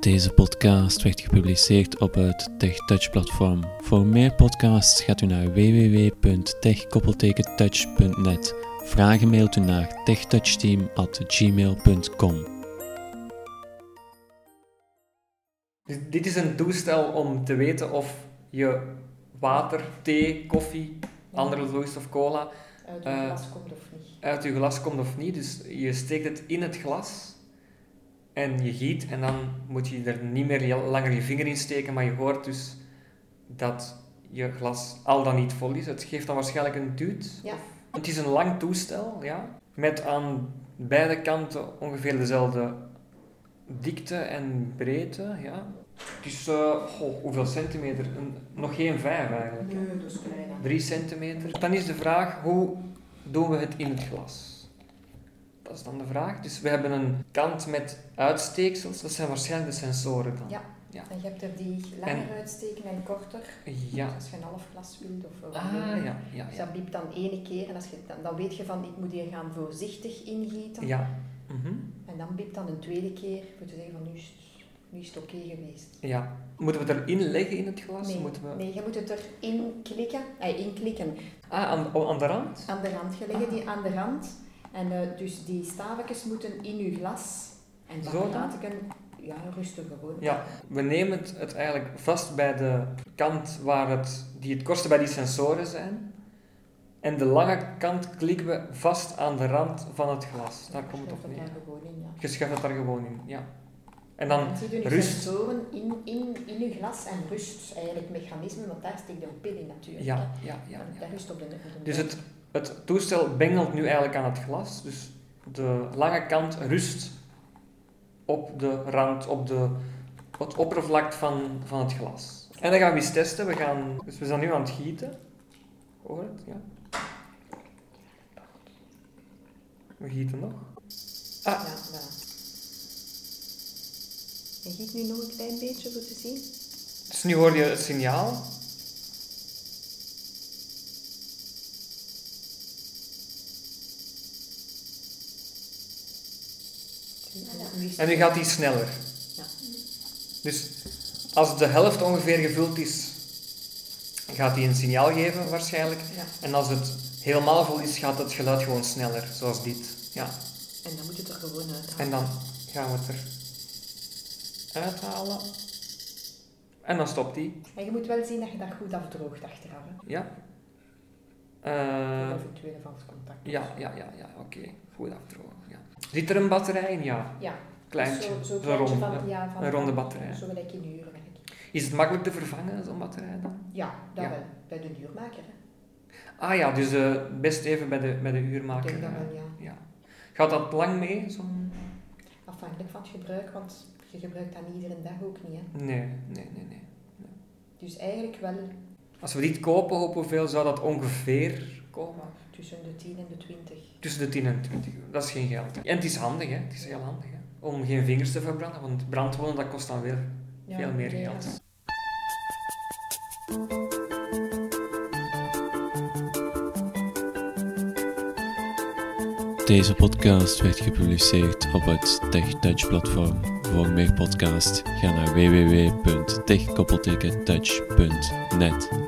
Deze podcast werd gepubliceerd op het TechTouch-platform. Voor meer podcasts gaat u naar www.tech-touch.net. Vragen mailt u naar techtouchteam.gmail.com. Dus dit is een toestel om te weten of je water, thee, koffie, andere vloeistof, cola Uit Eh, een glas komt of niet. uit je glas komt of niet. Dus je steekt het in het glas en je giet en dan moet je er niet meer heel- langer je vinger in steken, maar je hoort dus dat je glas al dan niet vol is. Het geeft dan waarschijnlijk een duwt. Ja. Het is een lang toestel, ja, met aan beide kanten ongeveer dezelfde dikte en breedte, ja. Het is, eh, goh, hoeveel centimeter? Een- nog geen vijf eigenlijk. hè. Nee, dat is klein. hè. 3 centimeter. Dan is de vraag, hoe doen we het in het glas? Dat is dan de vraag. Dus we hebben een kant met uitsteeksels, dat zijn waarschijnlijk de sensoren dan. Ja. En je hebt er die langer En- uitsteken en korter. Ja. Dus als je een half glas wilt of wat Ah, wil je. ja, ja, Dus ja. dat biept dan één keer en als je, dan, dan weet je van ik moet hier gaan voorzichtig ingieten. Ja. Mhm. En dan biept dan een tweede keer voor te zeggen van nu is, nu is het oké geweest. ja. Moeten we het erin leggen in het glas? Nee, Moeten we... nee, je moet het erin klikken, eh, inklikken. Ah, aan, oh, aan de rand? Aan de rand, je legt die aan de rand. En eh, dus die staafjes moeten in je glas. En Zo dan? dan laat ik hem ja, rustig gewoon. Ja, we nemen het, het eigenlijk vast bij de kant waar het, die het kortste bij die sensoren zijn. En de lange kant klikken we vast aan de rand van het glas. Daar komt het op Schuif neer. daar gewoon in, ja. Je schuift het daar gewoon in, ja. En dan, Dan zie je de rust. sensoren in, in, in je glas en rust eigenlijk mechanisme, want daar steekt de pil in natuurlijk. hè. ja, ja, ja. Want ja. Dat rust op de, op de Dus neus. het, het toestel bengelt nu eigenlijk aan het glas. Dus de lange kant rust op de rand, op de, het oppervlak van, van het glas. En dan gaan we eens testen. We gaan, dus we zijn nu aan het gieten. Hoor het? Ja. We gieten nog. Ja, voilà. Je giet nu nog een klein beetje, zo te zien. Dus nu hoor je het signaal. En nu gaat die sneller. Ja. Dus als de helft ongeveer gevuld is, gaat hij een signaal geven waarschijnlijk. Ja. En als het helemaal vol is, gaat het geluid gewoon sneller, zoals dit. Ja. En dan moet je het er gewoon uithalen. En dan gaan we het er uithalen. En dan stopt hij. En je moet wel zien dat je dat goed afdroogt achteraf. hè. Ja. Eh, Eventuele vals contact. ja, ja, ja, ja. Oké. Goed afdrogen. Ja. Zit er een batterij in? Ja. Ja. Kleintje. Zo, zo Zo kleintje rond, van, hè. ja, van, Een ronde batterij. Zo gelijk in uren. eigenlijk. Is het makkelijk te vervangen, zo'n batterij dan? Ja, dat Ja. wel. Bij de duurmaker. Hè. Ah ja, dus eh, best even bij de, bij de Ik uurmaker. denk dat eh. wel, ja. Ja. Gaat dat lang mee? Zo'n... Afhankelijk van het gebruik, want je gebruikt dat niet iedere dag ook niet. Hè. Nee, nee, nee, nee. Dus eigenlijk wel Als we dit kopen, op hoeveel zou dat ongeveer komen? oh, tussen de 10 en de 20. Tussen de 10 en 20 euro. Dat is geen geld. En het is handig, hè? Het is heel handig. Hè? Om geen vingers te verbranden, want brandwonden dat kost dan weer Ja, veel meer nee, geld. dat- Deze podcast werd gepubliceerd op het TechTouch-platform. Voor meer podcasts ga naar www.tech-touch.net.